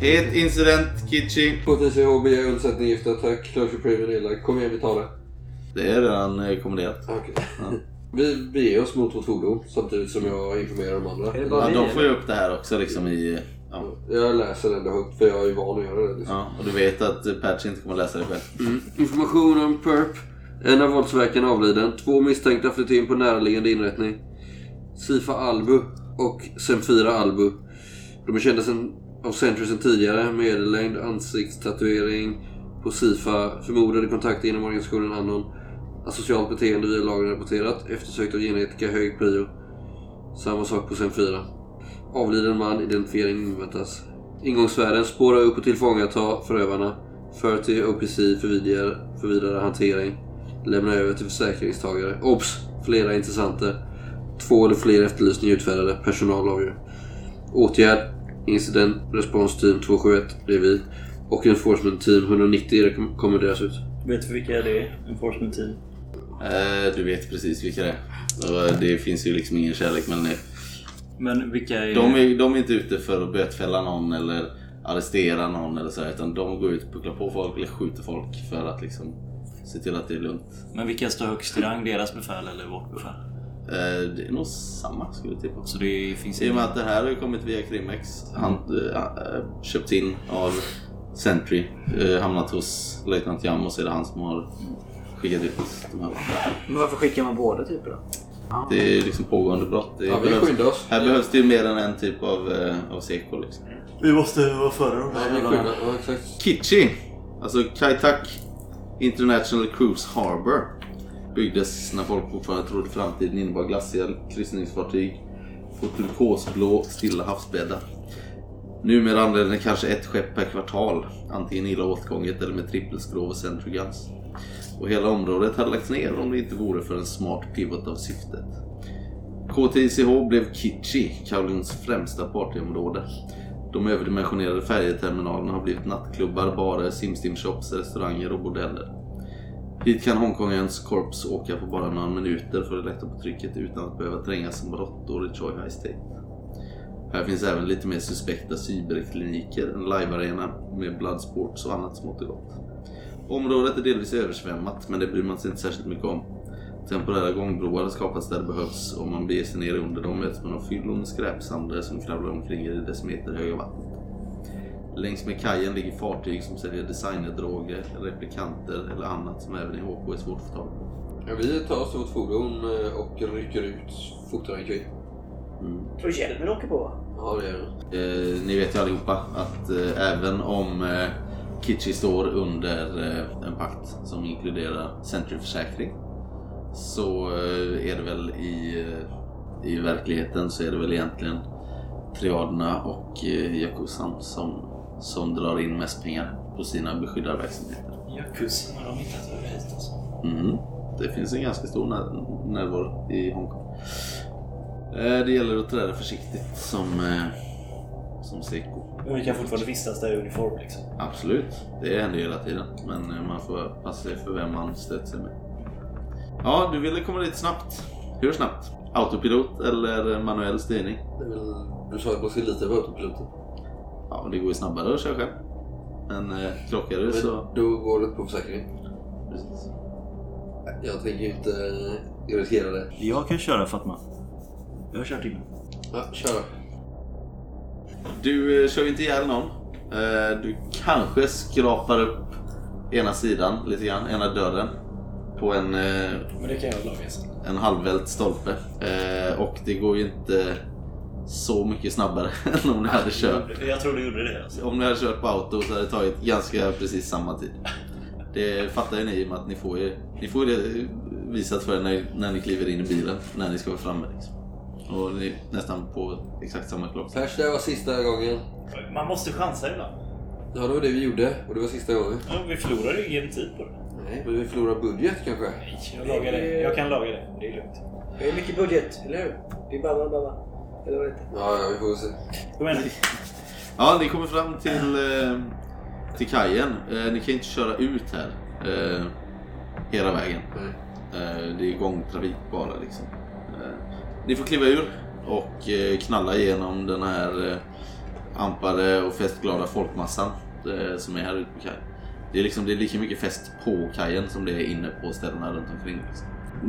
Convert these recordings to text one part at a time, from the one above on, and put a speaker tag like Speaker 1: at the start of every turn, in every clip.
Speaker 1: Het incident, Kitchi.
Speaker 2: Potatis ihop, begär undsättning, giftattack, closure privilege, kom igen vi tar det.
Speaker 1: Det är redan eh, kommenderat.
Speaker 2: Okej.
Speaker 1: Ja.
Speaker 2: Vi beger oss mot vårt fordon samtidigt som jag informerar de andra.
Speaker 3: Är det bara-
Speaker 1: Ja, de får ju upp det här också liksom i... eh, Ja.
Speaker 2: Jag läser ändå högt för jag är ju van att göra det. Liksom.
Speaker 1: ja. Och du vet att eh, Patch inte kommer läsa det själv.
Speaker 2: Mm. Information om Perp. En av våldsverkarna avliden. Två misstänkta flytt in på närliggande inrättning. Sifa Albu och Semfira Albu. De är kända sen, av Sentry sedan tidigare. Medellängd, ansiktstatuering på Sifa. Förmodade kontakter inom organisationen Anon. Asocialt beteende via lagen rapporterat. Eftersökt av genetiker, hög prio. Samma sak på Semfira. Avliden man, identifiering inväntas. Ingångsvärden, spåra upp och tillfångata förövarna. För till OPC för vidare, för vidare hantering. Lämna över till försäkringstagare. Obs! Flera intressenter. Två eller fler efterlysningar utfärdade. Personal avgör. Åtgärd. Incident Response Team 271. Det är vi. Och Enforcement Team 190 rekommenderas ut.
Speaker 3: Vet du vilka det är? Enforcement team.
Speaker 1: Eh, Du vet precis vilka det är. Och eh, det finns ju liksom ingen kärlek mellan er.
Speaker 3: Men vilka är...
Speaker 1: De är, de är inte ute för att bötfälla någon eller arrestera någon eller så här, utan de går ut och pucklar på folk eller skjuter folk för att liksom se till att det är lugnt.
Speaker 3: Men vilka står högst i rang? Deras befäl eller vårt befäl?
Speaker 1: Eh, Det är nog samma skulle jag tippa.
Speaker 3: Så det finns
Speaker 1: I och med
Speaker 3: ingen...
Speaker 1: att det här har ju kommit via Krimex. Han äh, köpts in av Sentry. eh, hamnat hos löjtnant Jam och så är det han som har skickat ut de här.
Speaker 4: Men varför skickar man båda typer då?
Speaker 1: Det är liksom pågående brott. Det
Speaker 2: Ja, vi
Speaker 1: behövs-
Speaker 2: skyddar oss.
Speaker 1: Här behövs det ju mer än en typ av, eh, av seko liksom.
Speaker 3: Vi måste vara före dem.
Speaker 2: Ja, exakt.
Speaker 1: Kitchi, alltså Kaitak International Cruise Harbor byggdes när folk fortfarande trodde framtiden innebar glacial kryssningsfartyg på turkosblå stilla havsbäddar. Numera anländer kanske ett skepp per kvartal, antingen illa åtgånget eller med trippelskrov och central guns. Och hela området hade lagts ner om det inte vore för en smart pivot av syftet. KTICH blev Kitchi, Kowloons främsta partyområde. De överdimensionerade färjeterminalerna har blivit nattklubbar, barer, simstimshops, restauranger och bordeller. Hit kan Hongkongens korps åka på bara några minuter för att lätta på trycket utan att behöva trängas som råttor i Choi High State. Här finns även lite mer suspekta cyberkliniker, en livearena med bloodsports och annat smått och gott. Området är delvis översvämmat men det bryr man sig inte särskilt mycket om. Temporära gångbroar har skapats där det behövs och om man beger sig ner under dem möts man av fyllon och skräpsamlare som kravlar omkring i det decimeter höga vattnet. Längs med kajen ligger fartyg som säljer designerdroger, replikanter eller annat som även i HK är svårt att få tag på.
Speaker 2: Ja, vi tar oss till vårt fordon eh, och rycker ut fortare än kvinn.
Speaker 1: Mm.
Speaker 4: Tror du hjälmen åker på?
Speaker 2: Ja, det gör vi.
Speaker 1: Eh, ni vet ju allihopa att eh, även om eh, Kitchi står under eh, en pakt som inkluderar Century-försäkring så eh, är det väl i, eh, i verkligheten så är det väl egentligen triaderna och eh, Yakuzan som, som drar in mest pengar på sina beskyddare-verksamheter.
Speaker 3: Jakusen har de hittat över hit alltså.
Speaker 1: Mm. Det finns en ganska stor när- närvaro i Hongkong. Eh, det gäller att träda försiktigt som, eh, som Seko.
Speaker 3: Men vi kan fortfarande vistas där i uniform liksom.
Speaker 1: Absolut, det händer ju hela tiden. Men eh, man får passa sig för vem man stöter sig med. Ja, du ville komma dit snabbt. Hur snabbt? Autopilot eller manuell styrning?
Speaker 2: Det är väl... Du sa att man ska lita på autopiloten.
Speaker 1: Ja, men det går ju snabbare att köra själv. Men eh, krockar du så...
Speaker 2: Men då går det inte på försäkringen.
Speaker 1: Precis.
Speaker 2: Jag tänker ju inte eh, irritera dig.
Speaker 3: Jag kan köra Fatma. Jag har kört innan.
Speaker 2: Ja, kör.
Speaker 1: Du eh, kör ju inte ihjäl någon. Eh, du kanske skrapar upp ena sidan lite grann, ena dörren. På en eh,
Speaker 3: Men det kan jag laga sen.
Speaker 1: en halvvält stolpe. Eh, och det går ju inte så mycket snabbare än om ni hade kört.
Speaker 3: Jag tror du gjorde det alltså.
Speaker 1: Om ni hade kört på auto så hade det tagit ganska precis samma tid. Det fattar ju ni i och med att ni får ju, ni får ju det visat för er när, när ni kliver in i bilen, när ni ska vara framme. Liksom. Och ni är nästan på exakt samma klock.
Speaker 2: Flash, det här var sista gången.
Speaker 3: Man måste chansa ibland.
Speaker 2: Ja, det var det vi gjorde och det var sista gången.
Speaker 3: Ja, vi förlorar ju ingen tid på det.
Speaker 2: Nej, men vi förlorar budget kanske.
Speaker 3: Nej, jag lagar det. Jag kan laga det. Det är lugnt.
Speaker 4: Det är mycket budget, eller hur? Det är babba babba. Eller vad det heter.
Speaker 2: Ja, ja, vi får väl se.
Speaker 3: Kom igen.
Speaker 1: Ja, ni kommer fram till, eh, till kajen. Eh, ni kan inte köra ut här eh, hela vägen.
Speaker 2: Nej.
Speaker 1: Eh, Det är gångtrafik bara liksom. Eh, Ni får kliva ur och eh, knalla igenom den här eh, ampade och festglada folkmassan eh, som är här ute på kajen. Det är, liksom, det är lika mycket fest på kajen som det är inne på ställena runt omkring. Liksom.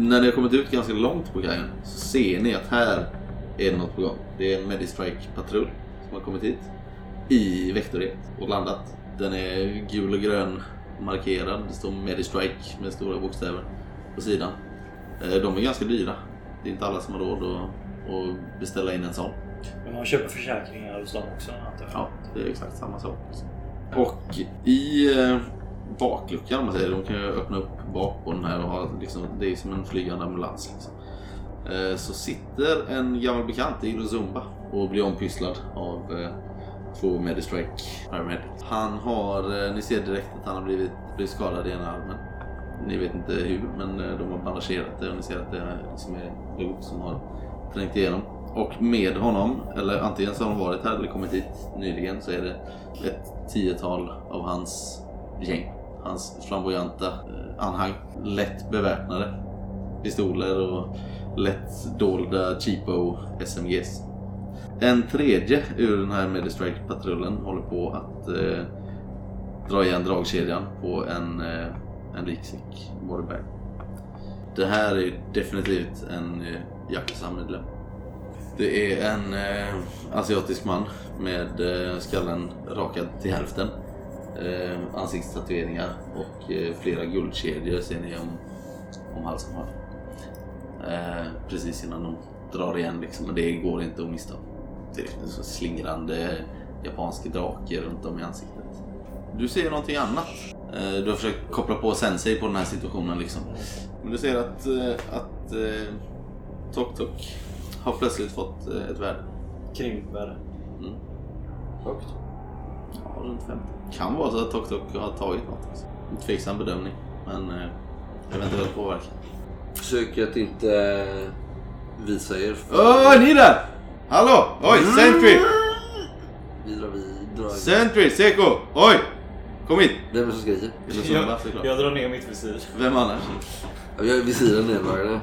Speaker 1: När ni har kommit ut ganska långt på kajen så ser ni att här är det något på gång. Det är en Medistrike-patrull som har kommit hit i väktarhet och landat. Den är gul och grön markerad. Det står Medistrike med stora bokstäver på sidan. Eh, De är ganska dyra. Det är inte alla som har råd att, att beställa in en sån.
Speaker 3: Men man köper försäkringar hos dem också antar jag.
Speaker 1: Ja, det är exakt samma sak. liksom. Och i eh, bakluckan, om man säger, de kan ju öppna upp bak på den här och ha liksom, det är som en flygande ambulans. Liksom. Eh, Så sitter en gammal bekant i Rozumba och blir ompysslad av eh, två Medistrike paramedics. Han har, eh, ni ser direkt att han har blivit, blivit skadad i ena armen. Ni vet inte hur, men eh, de har bandagerat det och ni ser att det är, liksom är blod som har trängt igenom. Och med honom, eller antingen så har de varit här eller kommit hit nyligen, så är det ett tiotal av hans gäng. Hans flamboyanta eh, anhang. Lätt beväpnade. Pistoler och lätt dolda cheapo SMGs. En tredje ur den här Medistrike-patrullen håller på att eh, dra igen dragkedjan på en, eh, en liksäck borderberg. Det här är definitivt en eh, Yakuza-medlem. Det är en eh, asiatisk man med eh, skallen rakad till hälften. Eh, ansiktstatueringar och eh, flera guldkedjor ser ni om, om halsen här. Eh, precis innan de drar igen liksom, men det går inte att missa. Det är liksom en sån slingrande japansk drake runt om i ansiktet. Du ser någonting annat. Eh, du har försökt koppla på sensei på den här situationen liksom. Men du ser att, eh, att eh, Tok Tok har plötsligt fått eh, ett värde.
Speaker 3: Krimvärde.
Speaker 1: Mm.
Speaker 4: Högt.
Speaker 1: Ja, runt 50. Kan vara så att Tok Tok har tagit något. Också. En tveksam bedömning, men eh, eventuell påverkan.
Speaker 2: Försök att inte eh, visa er.
Speaker 1: Öh, ni där! Mm. Hallå! Oj, Sentry!
Speaker 2: Vi drar vidare.
Speaker 1: Sentry, Seko! Oj! Kom hit!
Speaker 2: Vem är det som skriker?
Speaker 1: Lusumba, såklart.
Speaker 3: Jag, jag drar ner mitt visir.
Speaker 1: Vem annars?
Speaker 2: Ja, Jag är vid sidan nedvarande.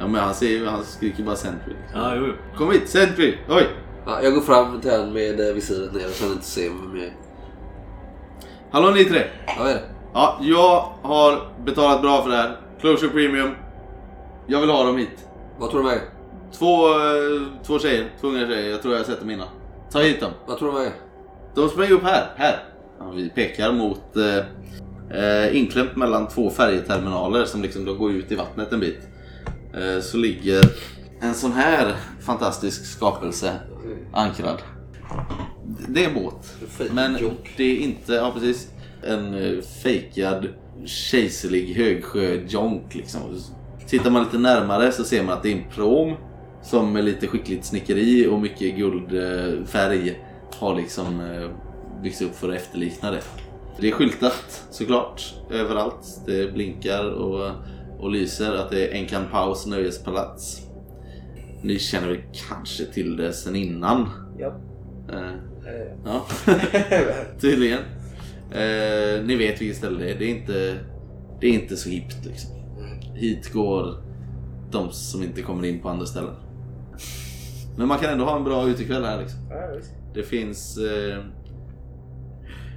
Speaker 1: Ja, men han, ser, ju- han skriker bara Sentry.
Speaker 3: Ja, jo.
Speaker 1: Kom hit, Sentry! Oj!
Speaker 2: Ja, jag går fram till han med eh, visiret nere så han inte ser vem jag är.
Speaker 1: Hallå ni tre!
Speaker 2: Ja, vad är det?
Speaker 1: Ja, jag har betalat bra för det här. Closure Premium. Jag vill ha dem hit.
Speaker 2: Vad tror du väger?
Speaker 1: Två, eh, två tjejer, två unga tjejer. Jag tror jag har sett dem innan. Ta hit dem.
Speaker 2: Vad tror du väger?
Speaker 1: De sprang upp här, här. Ja, vi pekar mot eh, eh, inklämt mellan två färjeterminaler som liksom då går ut i vattnet en bit. Eh, så ligger en sån här fantastisk skapelse ankrad. Det är en båt.
Speaker 2: Fake
Speaker 1: Men
Speaker 2: jock.
Speaker 1: det är inte, ja precis, en eh, fejkad kejserlig högsjöjonk liksom. Tittar man lite närmare så ser man att det är en prom som med lite skickligt snickeri och mycket guldfärg har liksom eh, byggts upp för att efterlikna det. Det är skyltat såklart överallt. Det blinkar och, och lyser att det är Enkan Paus nöjespalats. Ni känner väl kanske till det sen innan?
Speaker 4: Ja.
Speaker 1: Eh,
Speaker 4: Eh,
Speaker 1: ja. Tydligen. Eh, ni vet vilket ställe det är. Det är inte, det är inte så hippt liksom.
Speaker 2: Mm.
Speaker 1: Hit går de som inte kommer in på andra ställen. Men man kan ändå ha en bra utekväll här liksom.
Speaker 4: ja, visst.
Speaker 1: Det finns... Eh,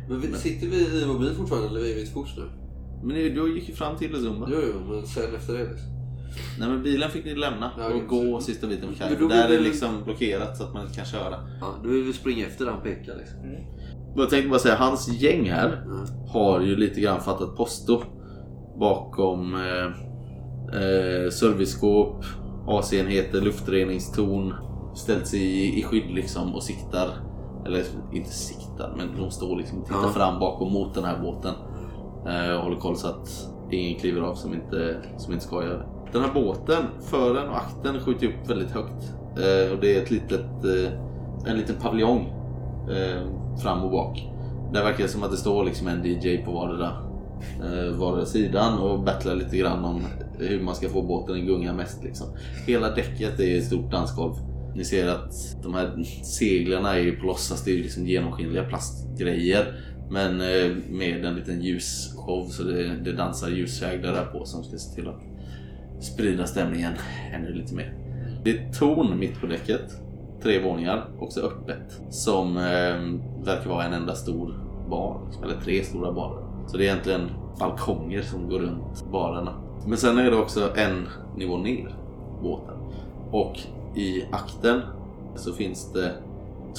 Speaker 2: Men vi, sitter vi i vår bil fortfarande eller är vi i ett kors nu?
Speaker 1: men ni- du gick ju fram till Luzumba.
Speaker 2: Jo, jo, men sen efter det liksom.
Speaker 1: Nej men bilen fick ni lämna
Speaker 2: Ja,
Speaker 1: och
Speaker 2: just
Speaker 1: gå
Speaker 2: det.
Speaker 1: sista biten på
Speaker 2: Men då
Speaker 1: kajen.
Speaker 2: blir
Speaker 1: Där är
Speaker 2: det-
Speaker 1: det liksom blockerat så att man inte kan köra.
Speaker 2: Ja, då vill vi springa efter där han pekar liksom.
Speaker 1: Jag tänkte bara säga, hans gäng här
Speaker 2: Mm.
Speaker 1: har ju lite grann fattat posto bakom eh, eh, serviceskåp, AC-enheter, luftreningstorn. Ställt sig i, i skydd liksom och siktar. Eller inte siktar, men de står liksom och tittar
Speaker 2: Ja.
Speaker 1: fram bakom mot den här båten. Eh, och håller koll så att ingen kliver av som inte, som inte ska göra det. Den här båten, fören och akten skjuter upp väldigt högt. Eh, och det är ett litet, eh, en liten paviljong eh, fram och bak. Där verkar det som att det står liksom en DJ på vardera, eh, vardera sidan och battlar lite grann om hur man ska få båten att gunga mest. Liksom. Hela däcket är ett stort dansgolv. Ni ser att de här seglarna är ju på låtsas, det är ju liksom genomskinliga plastgrejer. Men eh, med en liten ljusshow så det, det dansar ljuskäglar där på som ska se till att sprida stämningen ännu lite mer. Det är ett torn mitt på däcket tre våningar, också öppet. Som eh, verkar vara en enda stor bar, liksom, eller tre stora barer. Så det är egentligen balkonger som går runt barerna. Men sen är det också en nivå ner, båten. Och i akten så finns det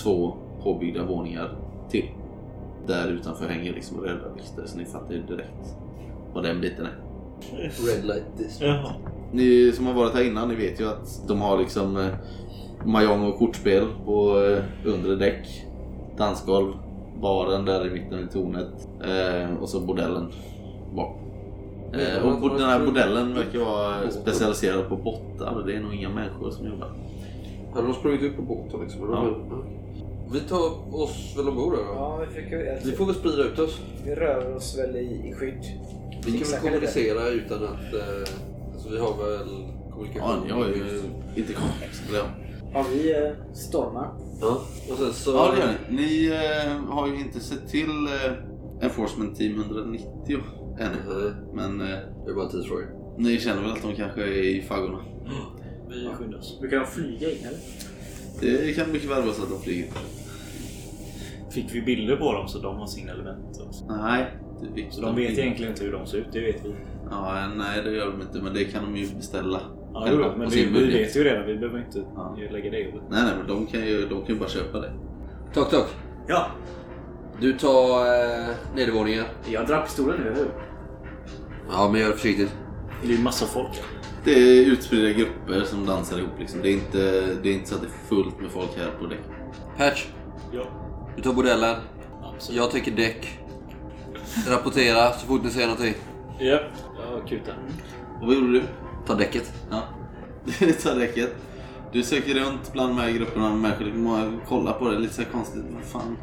Speaker 1: två påbyggda våningar till. Där utanför hänger liksom röda vikter så ni fattar ju direkt vad den biten är.
Speaker 2: Red light district.
Speaker 3: Jaha.
Speaker 1: Ni som har varit här innan, ni vet ju att de har liksom eh, mahjong och kortspel på eh, undre däck, dansgolv, baren där i mitten i tornet eh, och så bordellen bak. Eh, och bod- den här bordellen verkar vara specialiserad på bottar. Det är nog inga människor som jobbar.
Speaker 2: Hade de sprungit ut på båten liksom? eller?
Speaker 1: Ja.
Speaker 2: Vi tar oss väl ombord här då?
Speaker 4: Ja, vi fick ju...
Speaker 2: Vi får väl sprida ut oss.
Speaker 4: Vi rör oss väl i, i skydd.
Speaker 2: Vi kan väl
Speaker 4: Exakt.
Speaker 2: kommunicera utan att... Eh, alltså vi har väl
Speaker 1: Ja,
Speaker 2: kommunikation?
Speaker 1: ni har ju inte komplex. eller ja.
Speaker 4: Ja, vi eh, stormar.
Speaker 2: Ja, och sen så...
Speaker 1: Ja, det gör ni. Ni eh, har ju inte sett till eh, Enforcement Team 190 än.
Speaker 2: Nej,
Speaker 1: Men eh,
Speaker 2: Det är bara en tidsfråga.
Speaker 1: ni känner väl att de kanske är i faggorna?
Speaker 3: Vi skyndar oss.
Speaker 4: Brukar de flyga in eller?
Speaker 1: Det kan mycket väl vara så att de flyger.
Speaker 3: Fick vi bilder på dem så de har sin element också.
Speaker 1: Nej, det fick
Speaker 3: Så de vet egentligen inte hur de ser ut, det vet vi.
Speaker 1: Ja, nej det gör de inte, men det kan de ju beställa.
Speaker 3: Ja,
Speaker 1: själva
Speaker 3: jo, men
Speaker 1: på
Speaker 3: vi,
Speaker 1: sin
Speaker 3: vi
Speaker 1: budget.
Speaker 3: vet ju redan, vi behöver inte
Speaker 1: Ja.
Speaker 3: lägga det i ordet.
Speaker 1: Nej, nej, men de kan ju, de kan ju bara köpa det.
Speaker 2: Tack, tack.
Speaker 3: Ja,
Speaker 2: Du tar eh, nedervåningen.
Speaker 4: Jag drar pistolen nu, eller hur?
Speaker 2: Ja, men gör det försiktigt.
Speaker 3: det är ju massa folk här.
Speaker 1: Det är utspridda grupper som dansar ihop liksom. Det är inte, det är inte så att det är fullt med folk här på däck.
Speaker 2: Patch,
Speaker 3: Ja,
Speaker 2: du tar bordellen.
Speaker 3: absolut.
Speaker 2: Jag täcker däck. Rapportera så fort ni ser någonting.
Speaker 3: Ja, jag kutar.
Speaker 1: Och vad gjorde du?
Speaker 2: Ta däcket.
Speaker 1: Ja. Det tar räcket. Du söker runt bland de här grupperna med människor. Många kollar på det lite så här konstigt. Vad fan?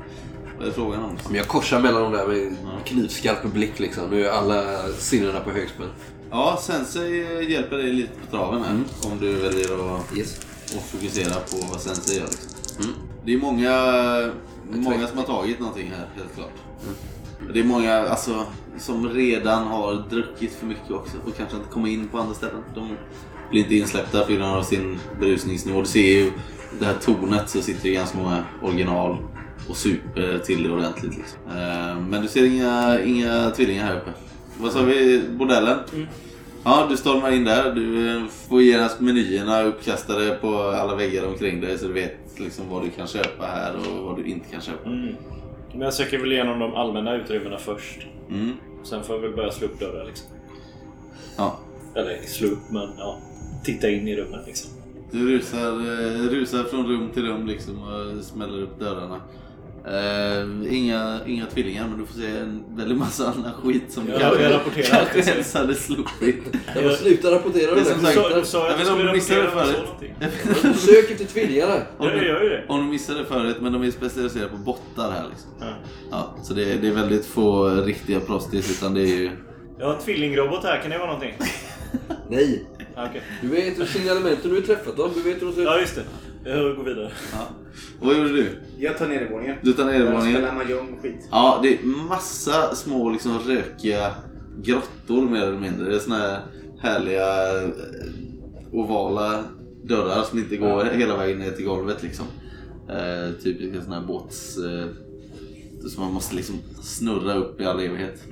Speaker 1: Vad är frågan om?
Speaker 2: Men jag korsar mellan dem där med knivskarp blick liksom. Nu är alla sinnena på högspänn.
Speaker 1: Ja, sen så hjälper det lite på traven här. Om du väljer att
Speaker 2: Yes.
Speaker 1: och fokusera på vad Sensei gör. Liksom.
Speaker 2: Mm.
Speaker 1: Det är många, många som har tagit någonting här, helt klart. Det är många alltså, som redan har druckit för mycket också och kanske inte kommer in på andra ställen. De blir inte insläppta på grund av sin berusningsnivå. Du ser ju det här tornet så sitter det ganska många original och super till det ordentligt. Liksom. Eh, Men du ser inga, inga tvillingar här uppe. Vad sa vi? Bordellen? Ja, du stormar in där. Du eh, får genast menyerna uppkastade på alla väggar omkring dig så du vet liksom vad du kan köpa här och vad du inte kan köpa.
Speaker 3: Mm. Men jag söker väl igenom de allmänna utrymmena först.
Speaker 1: Mm.
Speaker 3: Sen får jag väl börja slå upp dörrar liksom.
Speaker 1: Ja.
Speaker 3: Eller slå upp, men ja. Titta in i rummen liksom.
Speaker 1: Du rusar, eh, rusar från rum till rum liksom och smäller upp dörrarna. Eh, inga, inga tvillingar men du får se en väldigt massa annan skit som
Speaker 3: Ja,
Speaker 1: kanske,
Speaker 3: jag rapporterar
Speaker 1: kanske
Speaker 3: alltid.
Speaker 1: ens hade sluppit.
Speaker 2: Jag bara slutar rapportera
Speaker 1: Det är
Speaker 2: det
Speaker 1: som
Speaker 2: där.
Speaker 3: Du sa- du
Speaker 1: sagt,
Speaker 3: sa
Speaker 1: jag
Speaker 3: att du
Speaker 1: vet inte om
Speaker 3: skulle
Speaker 1: du missade det
Speaker 3: rapportera om du såg
Speaker 1: förut.
Speaker 3: någonting.
Speaker 2: Sök efter tvillingarna.
Speaker 1: Om
Speaker 3: Ja, jag
Speaker 1: du,
Speaker 3: gör ju det.
Speaker 1: om du missade det förut men de är specialiserade på bottar här liksom.
Speaker 3: Ja.
Speaker 1: Ja, så det, är- det är väldigt få riktiga prostis utan det är ju
Speaker 3: Jag har en tvillingrobot här, kan det vara någonting?
Speaker 2: Nej.
Speaker 3: Ja, okej.
Speaker 2: Du vet hur signalementen, du har ju träffat dem. Du vet hur de ser ut.
Speaker 3: Ja, just det. Jag går vidare.
Speaker 1: Ja. Och vad gjorde du?
Speaker 4: Jag tar nedervåningen.
Speaker 1: Du tar nedervåningen?
Speaker 4: Spelar mahjong och skit.
Speaker 1: Ja, det är massa små liksom rökiga grottor mer eller mindre. Det är såna här härliga eh, ovala dörrar som inte går hela vägen ner till golvet liksom. Eh, typiska såna här båts... Eh, som man måste liksom snurra upp i all evighet.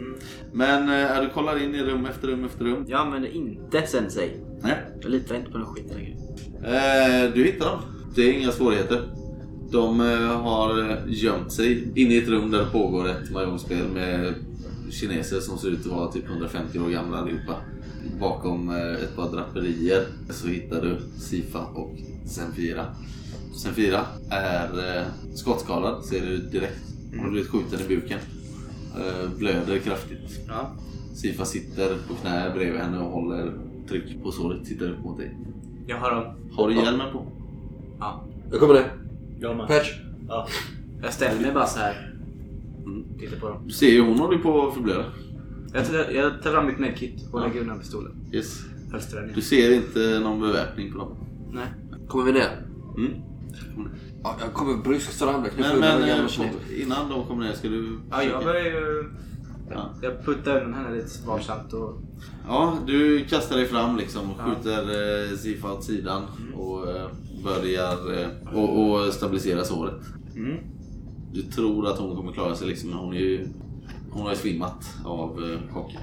Speaker 1: Men eh, du kollar in i rum efter rum efter rum.
Speaker 5: Jag använder inte sensei.
Speaker 1: Nej.
Speaker 5: Jag litar inte på den skiten längre.
Speaker 1: Eh, du hittar dem. Det är inga svårigheter. De eh, har gömt sig inne i ett rum där det pågår ett mahjongspel med kineser som ser ut att vara typ 150 år gamla allihopa. Bakom eh, ett par draperier så hittar du Sifa och Senfira. Senfira är eh, skottskadad, ser du direkt. Hon har blivit skjuten i buken. Eh, blöder kraftigt.
Speaker 5: Ja.
Speaker 1: Sifa sitter på knä bredvid henne och håller tryck på såret, tittar upp mot dig.
Speaker 5: Jag har dem.
Speaker 1: Har du hjälmen på?
Speaker 5: Ja.
Speaker 2: Jag kommer ner.
Speaker 3: Jag med.
Speaker 2: Patch.
Speaker 3: Ja.
Speaker 5: Jag ställer mig bara så här.
Speaker 1: Mm.
Speaker 5: Tittar på dem.
Speaker 1: Du ser ju, hon håller ju på att förblöda.
Speaker 5: Jag tar, jag tar fram mitt medkit och lägger undan pistolen.
Speaker 1: Yes.
Speaker 5: Hölstrar den
Speaker 1: Du
Speaker 5: igen.
Speaker 1: ser inte någon beväpning på dem.
Speaker 5: Nej.
Speaker 2: Kommer vi ner?
Speaker 1: Mm.
Speaker 2: Ja, jag kommer bryskt fram. Jag
Speaker 1: Men,
Speaker 2: knuffar undan
Speaker 1: men
Speaker 2: den
Speaker 1: eh,
Speaker 2: gamla
Speaker 1: på,
Speaker 2: snubben.
Speaker 1: innan de kommer ner ska du...
Speaker 5: Ja, jag
Speaker 1: försöka-
Speaker 5: börjar ju
Speaker 1: Ja.
Speaker 5: Jag puttar undan henne lite varsamt och...
Speaker 1: Ja, du kastar dig fram liksom och skjuter eh, Sifa åt sidan
Speaker 5: Mm.
Speaker 1: och eh, börjar eh, och, och stabilisera såret.
Speaker 3: Mm.
Speaker 1: Du tror att hon kommer klara sig liksom, men hon är ju... Hon har ju svimmat av eh, chocken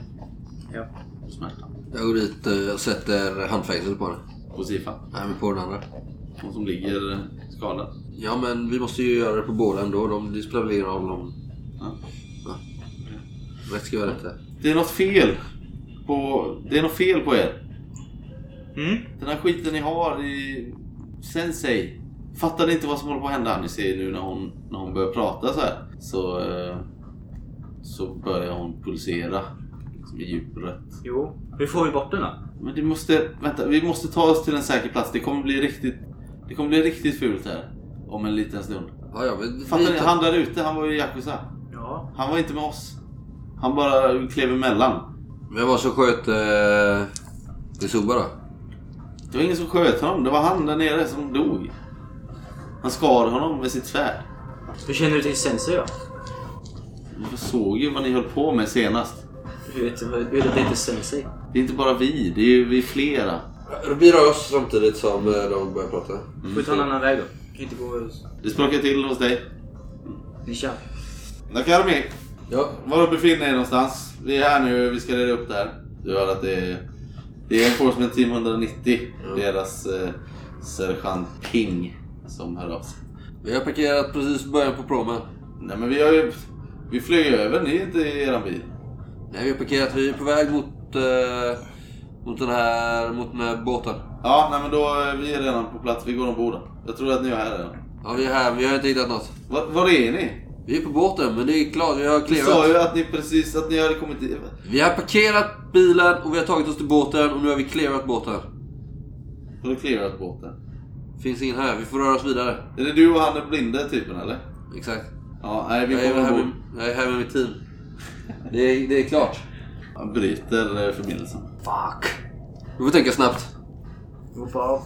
Speaker 5: Ja.
Speaker 1: och smärtan.
Speaker 2: Jag går dit eh, och sätter handfängsel på henne.
Speaker 1: På Sifa,
Speaker 2: Nej, men på den andra.
Speaker 1: hon som ligger eh, skadad.
Speaker 2: Ja, men vi måste ju göra det på båda ändå. De, det spelar väl ingen roll om...
Speaker 1: Ja.
Speaker 2: Ja. Rätt ska vara rätt där.
Speaker 1: Det är något fel på... Det är något fel på er.
Speaker 3: Mm.
Speaker 1: Den här skiten ni har i Sensei. Fattar ni inte vad som håller på att hända? Ni ser nu när hon, när hon börjar prata så här. Så, eh, så börjar hon pulsera liksom i djupet.
Speaker 5: Jo. Hur får vi bort den då?
Speaker 1: Men det måste, vänta, vi måste ta oss till en säker plats. Det kommer bli riktigt, det kommer bli riktigt fult här. Om en liten stund.
Speaker 2: Ja, ja, men vi
Speaker 1: Fattar ni?
Speaker 2: tar-
Speaker 1: Han där ute, han var ju i Yakuza.
Speaker 5: Ja.
Speaker 1: Han var inte med oss. Han bara klev emellan.
Speaker 2: Vem var det som sköt eh, Izuba då?
Speaker 1: Det var ingen som sköt honom. Det var han där nere som dog. Han skar honom med sitt svärd.
Speaker 5: Hur känner du till Sensei då?
Speaker 1: Jag såg ju vad ni höll på med senast.
Speaker 5: Hur vet du hur vet du inte Sensei?
Speaker 1: Det är inte bara vi, det är ju vi flera.
Speaker 2: Vi rör oss samtidigt som eh, de börjar prata.
Speaker 5: Får vi ta Mm. en annan väg då? Kan inte gå... hos-
Speaker 1: Det sprakar till hos dig.
Speaker 5: Ni kör.
Speaker 1: Nakarmi,
Speaker 2: Ja,
Speaker 1: var befinner er någonstans? Vi är här nu, vi ska reda upp det här. Du hör att det är... Det är Enforcement Team 190.
Speaker 2: Ja.
Speaker 1: Deras eh, sergeant Ping som hör av sig.
Speaker 2: vi har parkerat precis i början på promen.
Speaker 1: Nej men vi har ju... Vi flög över, ni är inte i eran bil.
Speaker 2: Nej, vi har parkerat. Vi är på väg mot, eh, mot, den, här, mot den här båten.
Speaker 1: Ja, nej men då, eh, vi är redan på plats. Vi går ombord. Jag tror att ni är här redan.
Speaker 2: Ja, vi är här, men vi har inte hittat något.
Speaker 1: Var, var är ni?
Speaker 2: Vi är på båten, men det är klart, vi har
Speaker 1: Du sa ju
Speaker 2: klevat.
Speaker 1: att ni precis, att ni hade kommit i...
Speaker 2: Vi har parkerat bilen och vi har tagit oss till båten och nu har vi klevat båten.
Speaker 1: Har du clearat båten?
Speaker 2: Finns ingen här, vi får röra oss vidare.
Speaker 1: Är det du och han den blinde typen eller?
Speaker 2: Exakt.
Speaker 1: Ja, nej vi
Speaker 2: Jag är,
Speaker 1: kommer
Speaker 2: här
Speaker 1: ombord.
Speaker 2: med, jag är här med mitt team. Det är, det är klart.
Speaker 1: Han bryter eh, förbindelsen.
Speaker 5: Fuck.
Speaker 2: Vi får tänka snabbt.
Speaker 5: Hoppa av.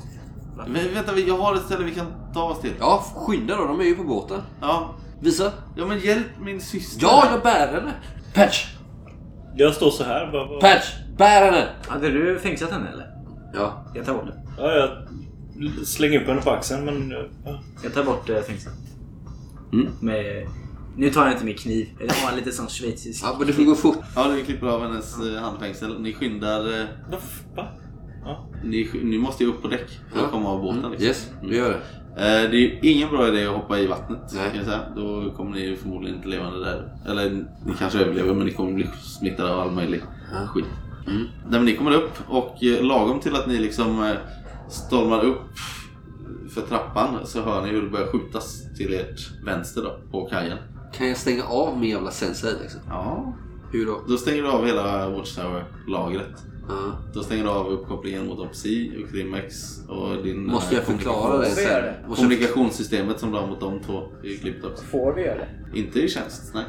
Speaker 1: Men vänta, vi- jag har ett ställe vi kan ta oss till.
Speaker 2: Ja, skynda då, de är ju på båten.
Speaker 1: Ja.
Speaker 2: Visa.
Speaker 1: Ja men hjälp min syster.
Speaker 2: Ja, jag bär henne! Patch!
Speaker 3: Jag står så här bara. bara.
Speaker 2: Patch! Bär henne!
Speaker 5: Hade du fängslat henne eller?
Speaker 2: Ja.
Speaker 5: Jag tar bort det.
Speaker 3: Ja, jag slänger upp henne på axeln men... Ja.
Speaker 5: Jag tar bort eh, fängslet.
Speaker 1: Mm.
Speaker 5: Med... Nu tar jag inte min kniv. Jag har en lite sån schweizisk...
Speaker 2: ja men det får gå fort.
Speaker 1: Ja, du klipper av hennes eh, handfängsel. Ni skyndar... eh,
Speaker 3: Va? Va? Ja.
Speaker 1: Ni, sk- ni måste ju upp på däck för
Speaker 2: Ja.
Speaker 1: att komma av båten.
Speaker 2: Mm,
Speaker 1: Liksom.
Speaker 2: Yes, vi gör det.
Speaker 1: Eh, Det är ju ingen bra idé att hoppa i vattnet.
Speaker 2: Nej.
Speaker 1: Kan jag säga. Då kommer ni ju förmodligen inte levande där. Eller ni kanske överlever men ni kommer bli smittade av all möjlig
Speaker 2: Ja.
Speaker 1: skit. Mm. Nej, men ni kommer upp och eh, lagom till att ni liksom eh, stormar upp för trappan så hör ni hur det börjar skjutas till ert vänster då, på kajen.
Speaker 2: Kan jag stänga av min jävla sensei liksom?
Speaker 1: Ja.
Speaker 2: Hur då?
Speaker 1: Då stänger du av hela Watchtower-lagret.
Speaker 2: Ja.
Speaker 1: Då stänger du av uppkopplingen mot Opsi och Krimex och din...
Speaker 2: Måste
Speaker 1: eh,
Speaker 2: jag förklara det
Speaker 4: Får vi göra det?
Speaker 2: sen? Måste jag-
Speaker 1: Kommunikationssystemet som du har mot de två är ju klippt också.
Speaker 4: Får vi göra det?
Speaker 1: Inte i tjänst, nej.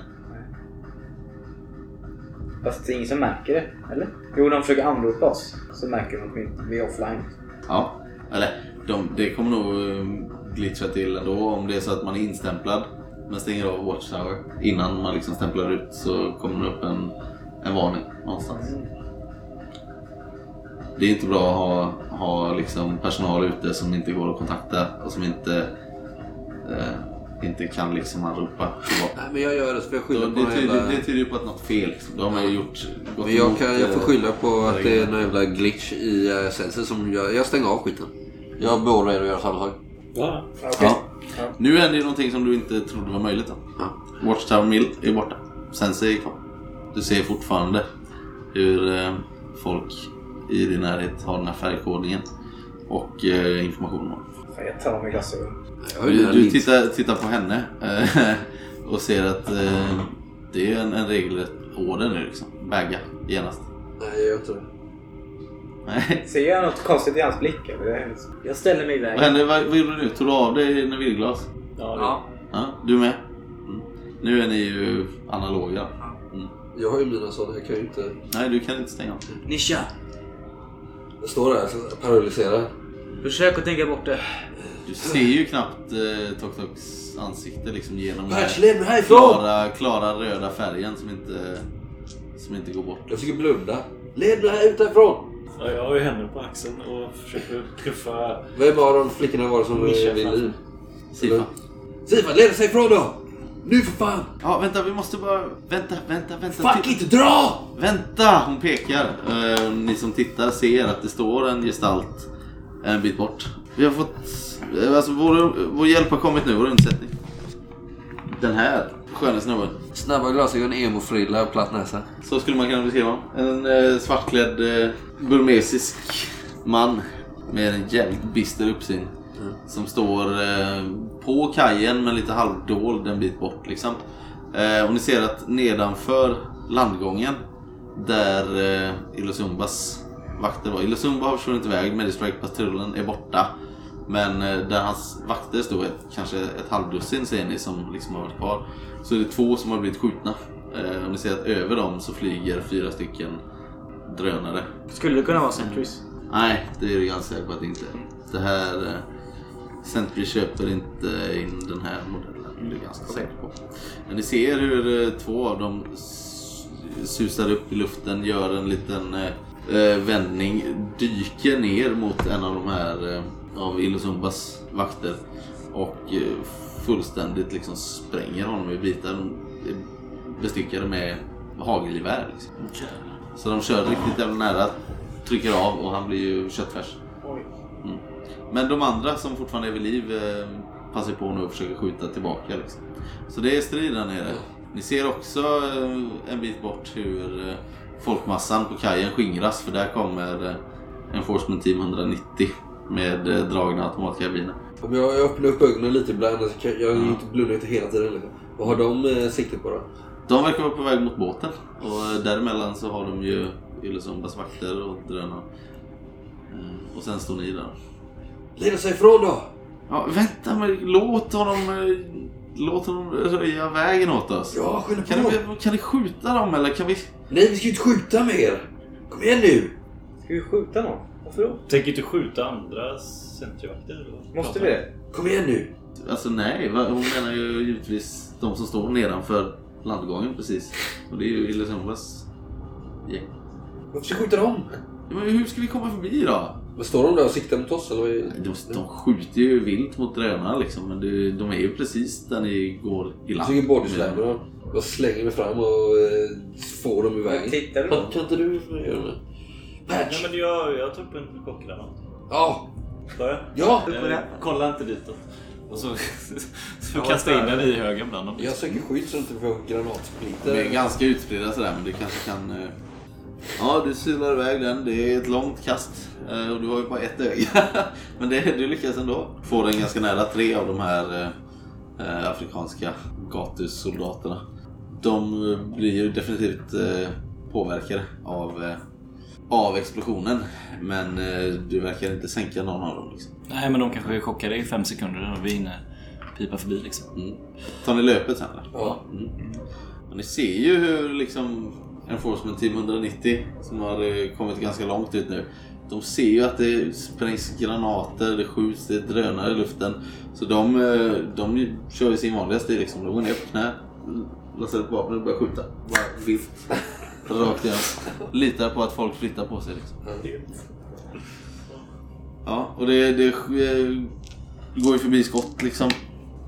Speaker 4: Fast det är ingen som märker det, eller? Jo, de försöker anropa oss. Så märker de att vi- vi är offline.
Speaker 1: Ja, eller de, det kommer nog eh, glitcha till ändå om det är så att man är instämplad men stänger av Watchtower innan man liksom stämplar ut så kommer det upp en, en varning någonstans.
Speaker 5: Mm.
Speaker 1: Det är inte bra att ha, ha liksom personal ute som inte går att kontakta och som inte, eh, inte kan liksom ropa tillbaka.
Speaker 2: Nej men jag gör det så får jag
Speaker 1: Så
Speaker 2: skylla på
Speaker 1: Det
Speaker 2: någon
Speaker 1: tyder,
Speaker 2: jävla...
Speaker 1: det tyder ju på att något fel. Liksom. Då har man ju gjort... gått
Speaker 2: Men jag,
Speaker 1: emot,
Speaker 2: kan, jag
Speaker 1: eh,
Speaker 2: får skylla på att det är
Speaker 1: reglerna.
Speaker 2: någon jävla glitch i uh, sensen som gör... Jag stänger av skiten. Jag beordrar er att göra samma sak.
Speaker 3: ja.
Speaker 4: Okej.
Speaker 1: Ja.
Speaker 4: Ja.
Speaker 1: Nu händer ju någonting som du inte trodde var möjligt. Då.
Speaker 2: Ja.
Speaker 1: Watchtower Mill är borta. Sensei är kvar. Du ser fortfarande hur eh, folk i din närhet har den här färgkodningen och eh, information om
Speaker 4: Fan, jag tar av mig glasögonen.
Speaker 2: Jag har ju
Speaker 1: Du,
Speaker 2: redan
Speaker 1: du
Speaker 2: lint.
Speaker 1: tittar, tittar på henne eh, och ser att eh, det är en, en regelrätt order nu. Liksom. Bagga genast.
Speaker 2: Nej jag gör inte det.
Speaker 1: Nej.
Speaker 4: Ser jag något konstigt i hans blick? Eller? Det är liksom- hemskt.
Speaker 5: Jag ställer mig i vägen.
Speaker 1: Vad hände? Vad, vad gjorde du nu? Tog du av dig navilglas?
Speaker 3: ja.
Speaker 5: Ja.
Speaker 1: Ja, du med? Mm. Nu är ni ju analoga.
Speaker 2: Jag har ju mina sådana, jag kan ju inte...
Speaker 1: Nej, du kan inte stänga av.
Speaker 5: Ni kör.
Speaker 2: Jag står där och paralyserar.
Speaker 5: Försök att tänka bort det.
Speaker 1: Du ser ju knappt eh, Tok Toks ansikte liksom genom den
Speaker 2: Patch, lämna
Speaker 1: här
Speaker 2: härifrån!
Speaker 1: klara, klara röda färgen som inte som inte går bort.
Speaker 2: Jag försöker blunda. Led mig ut härifrån!
Speaker 3: Ja, jag har ju händerna på axeln och försöker knuffa...
Speaker 2: Vem av de flickorna var det som
Speaker 3: Mischa
Speaker 2: eh, ville
Speaker 3: fram.
Speaker 2: liv?
Speaker 1: Sifa.
Speaker 2: Sifa, led sig ifrån då! Nu för fan!
Speaker 1: Ja, vänta, vi måste bara... Vänta, vänta, vänta.
Speaker 2: Fuck
Speaker 1: Titta.
Speaker 2: it, dra!
Speaker 1: Vänta! Hon pekar. Eh, ni som tittar ser att det står en gestalt en bit bort. Vi har fått... eh, Alltså, vår, vår hjälp har kommit nu, vår undsättning. Den här sköna snubben.
Speaker 2: Snabba glasögon, emo-frilla och platt näsa.
Speaker 1: Så skulle man kunna beskriva honom. En eh, svartklädd eh, burmesisk man med en jävligt bister uppsyn. Som står eh, på kajen men lite halvdold en bit bort. Liksom. Eh, och ni ser att nedanför landgången där eh, Ilosumbas vakter var. Ilosumba har försvunnit iväg, Medistrike-patrullen är borta. Men eh, där hans vakter stod, ett, kanske ett halvdussin ser ni som liksom har varit kvar. Så är det två som har blivit skjutna. Eh, och ni ser att över dem så flyger fyra stycken drönare.
Speaker 5: Skulle det kunna vara Sentries?
Speaker 1: Nej, det är du ganska säker på att det inte är. Det här... eh, Sentry köper inte in den här modellen. Det är jag ganska säker på. Men ni ser hur eh, två av dem s- susar upp i luften, gör en liten eh, eh, vändning, dyker ner mot en av de här eh, av Ilosumbas vakter och eh, fullständigt liksom spränger honom i bitar. De är bestyckade med hagelgevär. Liksom. Så de kör riktigt jävla nära, trycker av och han blir ju köttfärs. Mm. Men de andra som fortfarande är vid liv eh, passar på nu och försöker skjuta tillbaka. Liksom. Så det är strid där nere. Ni ser också eh, en bit bort hur eh, folkmassan på kajen skingras för där kommer eh, Enforcement Team 190 med eh, dragna automatkarbiner.
Speaker 2: Om jag, jag öppnar upp ögonen lite ibland, så kan- jag mm. blundar inte hela tiden. Liksom. Vad har de eh, sikte på då?
Speaker 1: De verkar vara på väg mot båten och eh, däremellan så har de ju Yllesundas vakter och drönare. Eh, Och sen står ni där.
Speaker 2: Leda sig ifrån då!
Speaker 1: Ja, vänta men låt honom, eh, låt honom röja vägen åt oss.
Speaker 2: Ja, skylla på
Speaker 1: Kan
Speaker 2: dem!
Speaker 1: vi, kan vi skjuta dem eller kan vi...
Speaker 2: Nej, vi ska ju inte skjuta mer! Kom igen nu!
Speaker 4: Ska vi skjuta någon? Varför då?
Speaker 3: Tänker inte skjuta andra centervakter? eller?
Speaker 4: Måste vi det?
Speaker 2: Kom igen nu!
Speaker 1: Alltså nej, va- hon menar ju givetvis de som står nedanför landgången precis. Och det är ju Illusumbas gäng.
Speaker 2: Varför ska vi skjuta dem?
Speaker 1: Ja, Men hur ska vi komma förbi då?
Speaker 2: Vad står de där och siktar mot oss eller? vad är-
Speaker 1: De, de skjuter ju vilt mot drönarna liksom, men det, de är ju precis där ni går i
Speaker 2: Jag
Speaker 1: land.
Speaker 2: tycker bodyslammer dem. Jag slänger mig fram och eh, får dem i vägen.
Speaker 4: Tittar du
Speaker 2: Kan,
Speaker 4: då?
Speaker 2: kan inte du göra det?
Speaker 3: Nej
Speaker 2: Patch!
Speaker 3: men jag, jag tar upp en kockgranat.
Speaker 2: Ja!
Speaker 3: Får jag?
Speaker 2: Ja!
Speaker 3: Eh, kolla inte ditåt. Och så, så kastar jag in den i högen bland dem.
Speaker 2: Jag söker skydd så att jag inte får
Speaker 1: De är
Speaker 2: granatsplitter.
Speaker 1: ganska utspridda sådär, men du kanske kan... eh, Ja, du silar iväg den. Det är ett långt kast eh, och du har ju bara ett öga. Men det, du lyckas ändå. Får den ganska nära tre av de här eh, eh, afrikanska gatusoldaterna. De eh, blir ju definitivt eh, påverkade av, eh, av explosionen. Men eh, du verkar inte sänka någon av dem. Liksom.
Speaker 3: Nej men de kanske är chockade i fem sekunder och vi hinner pipa förbi liksom.
Speaker 1: Mm. Tar ni löpet sen eller?
Speaker 2: Ja.
Speaker 1: Och ni ser ju hur liksom Enforcement Team 190 som har eh, kommit ganska långt ut nu. De ser ju att det sprängs granater, det skjuts, det är drönare i luften. Så de, eh, de kör ju sin vanliga stil liksom. De går ner på knä, lassar upp vapnet och börjar skjuta. Bara vilt. Rakt igenom. Litar på att folk flyttar på sig liksom. Ja, och det, det eh, går ju förbi skott liksom.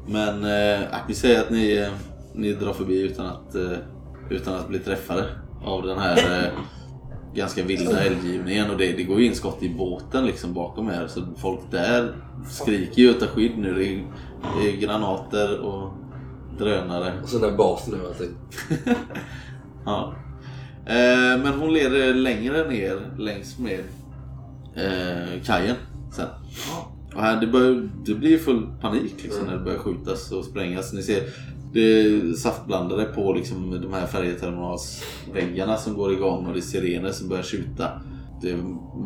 Speaker 1: Men eh, vi säger att ni, eh, ni drar förbi utan att, eh, utan att bli träffade av den här eh, ganska vilda eldgivningen. Och det, det går ju in skott i båten liksom bakom er. Så folk där skriker ju och tar skydd nu. Det är, det är granater och drönare.
Speaker 2: Och så den där basen över allting.
Speaker 1: Ja. Eh, men hon leder längre ner längs med eh, kajen sen. Och här, det, börjar, det blir full panik liksom, när det börjar skjutas och sprängas. Ni ser det är saftblandare på liksom, de här färjeterminalsväggarna som går igång och det är sirener som börjar tjuta. Det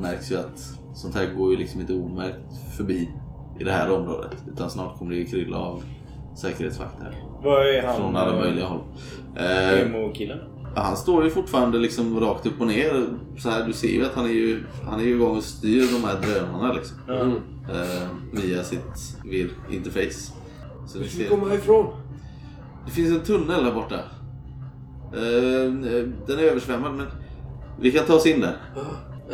Speaker 1: märks ju att sånt här går ju liksom inte omärkt förbi i det här området. Utan snart kommer det ju krylla av säkerhetsvakter
Speaker 3: Vad är han?
Speaker 1: från alla möjliga håll. Eh,
Speaker 3: Emo-killen?
Speaker 1: Ja, Han står ju fortfarande liksom rakt upp och ner. Så här, du ser ju att han är ju, han är ju igång och styr de här drönarna liksom.
Speaker 2: Mm.
Speaker 1: Eh, via sitt VIR-interface. Så du
Speaker 2: Vi ska
Speaker 1: ser,
Speaker 2: komma härifrån!
Speaker 1: det finns en tunnel där borta. Eh, eh, den är översvämmad men vi kan ta oss in där.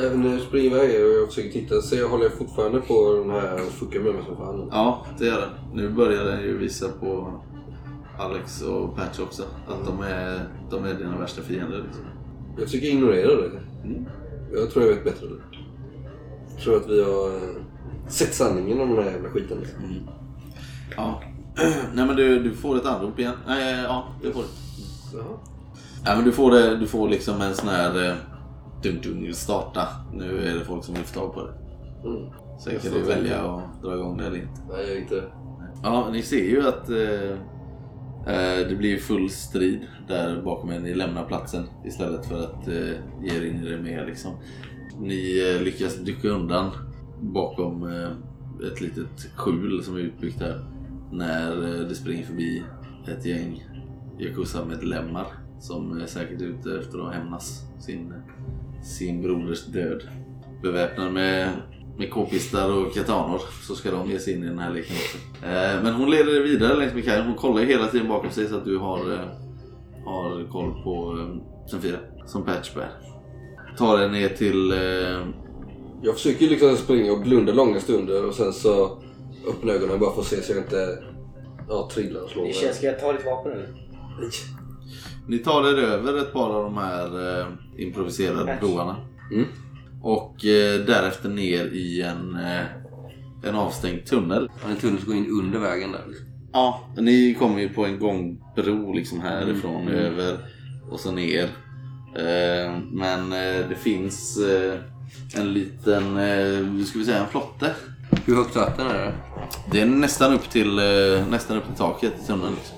Speaker 2: Äh, nu springer iväg och jag försöker titta. Ser jag, håller jag fortfarande på den här och fuckar med mig som fan?
Speaker 1: Ja, det gör den. Nu börjar den ju visa på Alex och Patch också att de är, de är dina värsta fiender. Liksom.
Speaker 2: Jag försöker ignorera det.
Speaker 1: Mm.
Speaker 2: Jag tror jag vet bättre nu. Jag tror att vi har eh, sett sanningen om den här jävla skiten. liksom.
Speaker 1: Ja. Nej men du, du får ett anrop igen. Nej, ja, det får du.
Speaker 2: Jaha.
Speaker 1: Ja, men du, får det, du får liksom en sån här... eh, Dun, dun, starta. Nu är det folk som vill få tag på det.
Speaker 2: Mm.
Speaker 1: Så
Speaker 2: Jag
Speaker 1: kan
Speaker 2: får
Speaker 1: du välja att dra igång det eller inte.
Speaker 2: Nej, jag är inte...
Speaker 1: Ja, ni ser ju att eh, eh, det blir full strid där bakom er. Ni lämnar platsen istället för att eh, ge er in i det mer. Liksom. Ni eh, lyckas dyka undan bakom eh, ett litet skjul som är utbyggt här. När eh, det springer förbi ett gäng Yakuza-medlemmar som är säkert är ute efter att hämnas sin, sin broders död. Beväpnade med, med k-pistar och katanor så ska de ge sig in i den här leken också. Eh, Men hon leder dig vidare längs med kajen. Hon kollar ju hela tiden bakom sig så att du har, eh, har koll på eh, Sofia som Patch bär. Tar dig ner till... eh,
Speaker 2: Jag försöker ju liksom springa och blunda långa stunder och sen så öppna ögonen bara för att se så jag inte ja, trillar och slår mig.
Speaker 4: Ska jag ta ditt vapen eller?
Speaker 1: Ni tar er över ett par av de här eh, improviserade
Speaker 4: Patch.
Speaker 1: broarna.
Speaker 2: Mm.
Speaker 1: Och eh, därefter ner i en, eh, en avstängd tunnel.
Speaker 2: Han är tvungen att gå in under vägen där. liksom.
Speaker 1: Ja, ni kommer ju på en gångbro liksom härifrån över och så ner. Eh, Men eh, det finns eh, en liten, eh, hur ska vi säga, en flotte.
Speaker 2: Hur högt vatten är det?
Speaker 1: Det är nästan upp till, eh, nästan upp till taket i tunneln. liksom.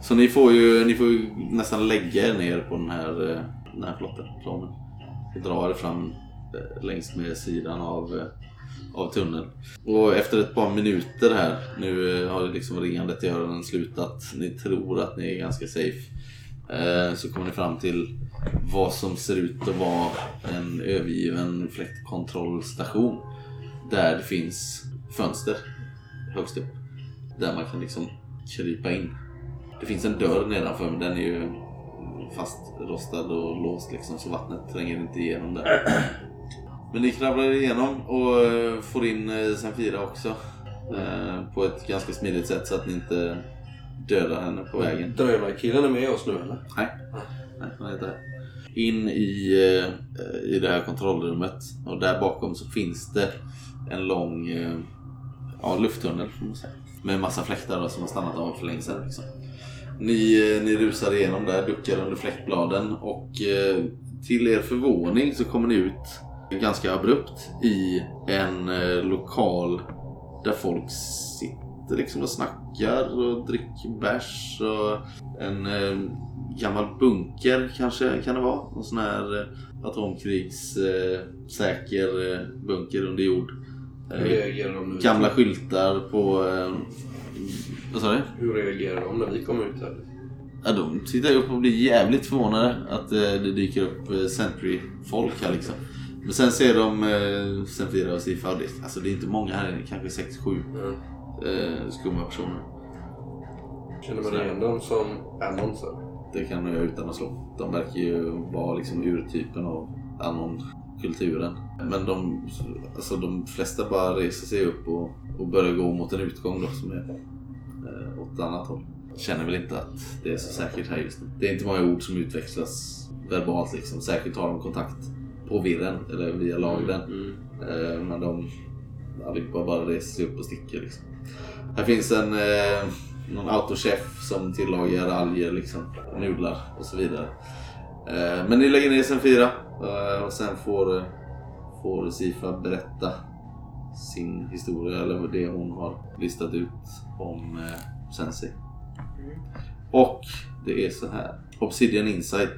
Speaker 1: Så ni får, ju, ni får ju nästan lägga er ner på den här, eh, den här flotten. planen. Och dra er fram eh, längs med sidan av, eh, av tunneln. Och efter ett par minuter här, nu eh, har det liksom ringandet i öronen slutat. Ni tror att ni är ganska safe. Eh, Så kommer ni fram till vad som ser ut att vara en övergiven fläktkontrollstation. Där det finns fönster högst upp. Där man kan liksom krypa in. Det finns en dörr nedanför men den är ju fastrostad och låst liksom så vattnet tränger inte igenom där. Men ni kravlar igenom och eh, får in eh, Senfira också. eh, På ett ganska smidigt sätt så att ni inte dödar henne på vägen.
Speaker 2: Drönarkillen är med oss nu eller?
Speaker 1: Nej, vad heter det? In i, eh, i det här kontrollrummet och där bakom så finns det en lång eh, ja, lufttunnel får man säga. Med massa fläktar då, som har stannat av för länge sedan. Liksom. Ni, eh, ni rusar igenom där, duckar under fläktbladen och eh, till er förvåning så kommer ni ut ganska abrupt i en eh, lokal där folk sitter liksom och snackar och dricker bärs och en eh, gammal bunker kanske kan det vara. En sån här eh, atomkrigssäker eh, säker, eh, bunker under jord.
Speaker 2: Hur
Speaker 1: Eh,
Speaker 2: reagerar de nu?
Speaker 1: gamla skyltar på... Eh, vad sa du?
Speaker 2: Hur reagerar de när vi kommer ut här?
Speaker 1: Ja, de tittar ju upp och blir jävligt förvånade att eh, det dyker upp eh, Sentry-folk här liksom. Men sen ser de eh, Senfira och Sifa och det, alltså, det är inte många här inne, kanske 6-7
Speaker 2: Mm.
Speaker 1: eh, skumma personer.
Speaker 2: Känner man igen dem som annonser?
Speaker 1: Det kan de göra utan att slå. De verkar ju vara liksom urtypen av Anon-kulturen. Men de, alltså, de flesta bara reser sig upp och, och börjar gå mot en utgång då, som är eh, åt ett annat håll. Känner väl inte att det är så säkert här just nu. Det är inte många ord som utväxlas verbalt liksom. Säkert har de kontakt på virren eller via lagren.
Speaker 2: Mm.
Speaker 1: Eh, Men de allihopa bara reser sig upp och sticker. Liksom. Här finns en eh, någon autochef som tillagar alger, liksom, nudlar och så vidare. Eh, men ni lägger ner sen fyra eh, och sen får, eh, får Sifa berätta sin historia eller vad det hon har listat ut om eh, Sensi. Och det är så här. Obsidian Insight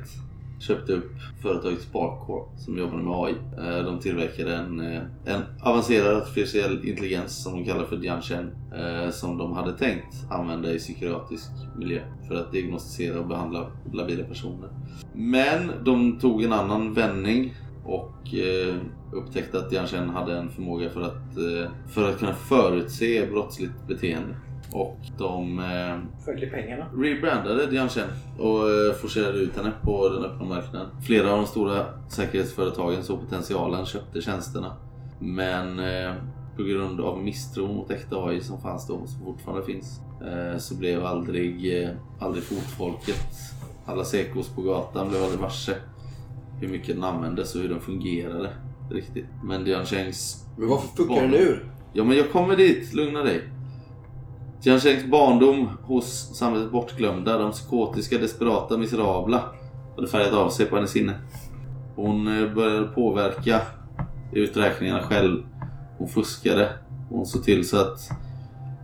Speaker 1: köpte upp företaget Sparkcore som jobbar med AI. Eh, De tillverkade en, eh, en avancerad artificiell intelligens som de kallar för Dianchen eh, som de hade tänkt använda i psykiatrisk miljö för att diagnostisera och behandla labila personer. Men de tog en annan vändning och eh, upptäckte att Dianchen hade en förmåga för att, eh, för att kunna förutse brottsligt beteende. och de eh,
Speaker 4: Följer pengarna.
Speaker 1: rebrandade Diane Chen och eh, forcerade ut henne på den öppna marknaden. Flera av de stora säkerhetsföretagen såg potentialen, köpte tjänsterna. Men eh, på grund av misstro mot äkta AI som fanns då, och som fortfarande finns, eh, så blev aldrig, eh, aldrig fotfolket, alla sekos på gatan blev aldrig varse hur mycket den användes och hur den fungerade riktigt. Men Diane Chengs
Speaker 2: Men varför fuckar den ur?
Speaker 1: Ja, men jag kommer dit. Lugna dig. Jiang Shengs barndom hos samhällets bortglömda, de psykotiska, desperata, miserabla hade färgat av sig på hennes sinne. Hon eh, började påverka uträkningarna själv. Hon fuskade. Hon såg till så att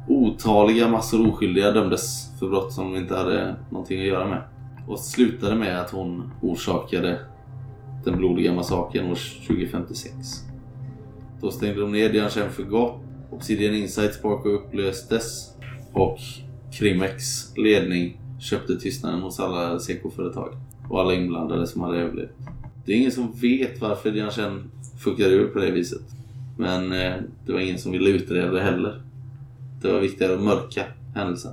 Speaker 1: otaliga massor oskyldiga dömdes för brott som de inte hade någonting att göra med. Och slutade med att hon orsakade den blodiga massakern år 2056. Då stängde de ner Dianchen för gott. Obsidian Insight Spark upplöstes. Och Krimex ledning köpte tystnaden hos alla SEKO-företag. Och alla inblandade som hade överlevt. Det är ingen som vet varför Dianchen fuckade ur på det viset. Men eh, det var ingen som ville utreda det heller. Det var viktigare att mörka händelsen.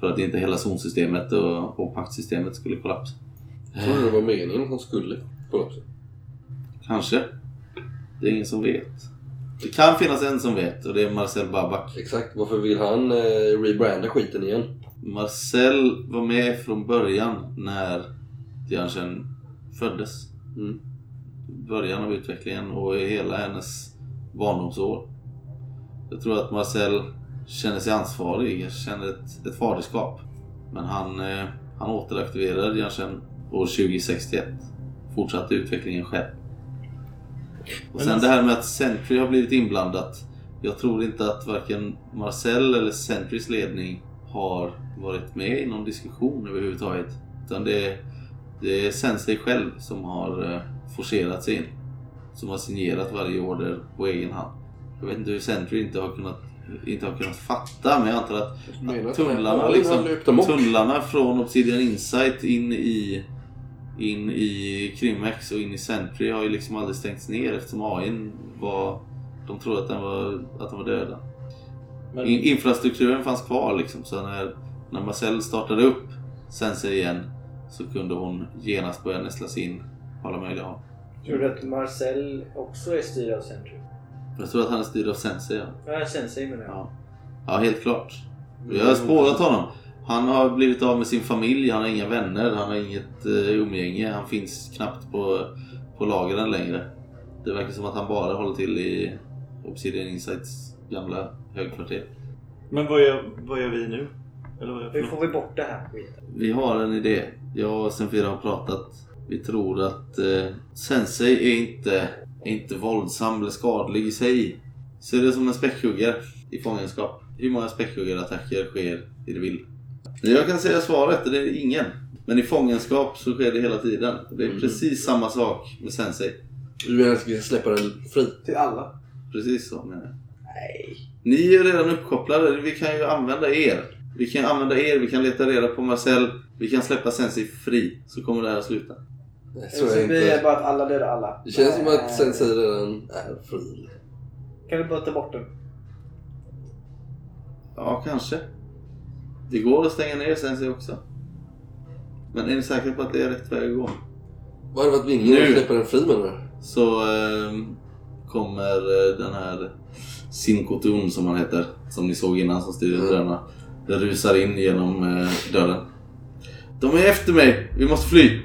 Speaker 1: För att inte hela zonsystemet och, och paktsystemet skulle kollapsa.
Speaker 2: Jag trodde det var meningen att han skulle på något sätt.
Speaker 1: Kanske. Det är ingen som vet. Det kan finnas en som vet och det är Marcel Babak.
Speaker 2: Exakt, varför vill han eh, rebranda skiten igen?
Speaker 1: Marcel var med från början när Dianchen föddes.
Speaker 2: Mm.
Speaker 1: Början av utvecklingen och i hela hennes barndomsår. Jag tror att Marcel känner sig ansvarig, känner ett, ett faderskap. Men han, eh, han återaktiverade Dianchen år 2061. Fortsatte utvecklingen själv. Och
Speaker 3: Men
Speaker 1: sen
Speaker 3: alltså-
Speaker 1: det här med att Sentry har blivit inblandat. Jag tror inte att varken Marcel eller Sentrys ledning har varit med i någon diskussion överhuvudtaget. Utan det, det är Sensei själv som har eh, forcerat sig in. Som har signerat varje order på egen hand. Jag vet inte hur Sentry inte har kunnat, inte har kunnat fatta men jag antar att
Speaker 2: Menar
Speaker 1: tunnlarna, liksom, tunnlarna från Obsidian Insight in i, in i Krimex och in i Sentry har ju liksom aldrig stängts ner eftersom AIn var... De trodde att den var, att den var döda.
Speaker 3: Men-
Speaker 1: In, infrastrukturen fanns kvar liksom så när, när Marcel startade upp Sensei igen så kunde hon genast börja nästla sig in på alla möjliga håll.
Speaker 4: Tror du att Marcel också är styrd av Sentry?
Speaker 1: Jag tror att han är styrd av Sensei ja.
Speaker 4: Ja, Sensei menar jag.
Speaker 1: Ja, ja helt klart. Jag har spårat honom. Han har blivit av med sin familj, han har inga vänner, han har inget eh, umgänge. Han finns knappt på, på lagren längre. Det verkar som att han bara håller till i Obsidian Insights gamla högkvarter.
Speaker 3: Men vad gör, vad gör vi nu? Eller vad gör
Speaker 4: Hur får vi bort det här skiten?
Speaker 1: Vi har en idé. Jag och Senfira har pratat. Vi tror att eh, Sensei är inte, är inte våldsam eller skadlig i sig. Ser det som en späckhuggare i fångenskap. Hur många späckhuggarattacker sker i det vilda? Jag kan säga svaret, det är ingen. Men i fångenskap så sker det hela tiden. Det är
Speaker 2: Mm.
Speaker 1: precis samma sak med Sensei.
Speaker 2: Du menar att vi ska släppa den fri?
Speaker 5: Till alla.
Speaker 1: Precis så menar jag. Nej. Ni är redan uppkopplade. Vi kan ju använda er. Vi kan använda er, vi kan leta reda på Marcel. Vi kan släppa Sensi fri. Så kommer det här att sluta.
Speaker 2: Nej,
Speaker 5: Så
Speaker 2: så är det
Speaker 5: vi är
Speaker 2: inte.
Speaker 5: bara att alla dödar alla.
Speaker 2: Det känns som att Sensei redan är fri.
Speaker 4: Eh, Kan vi bara ta bort den?
Speaker 1: Ja, kanske. Det går att stänga ner Sensi också. Men är ni säkra på att det är rätt väg att gå?
Speaker 2: Vad hade varit vinningen
Speaker 1: Nu.
Speaker 2: att släppa den fri menar du?
Speaker 1: Så ehm, kommer eh, den här Sinkotun som han heter. Som ni såg innan som styrde
Speaker 2: Mm.
Speaker 1: drönarna. Den rusar in genom eh, dörren. De är efter mig! Vi måste fly!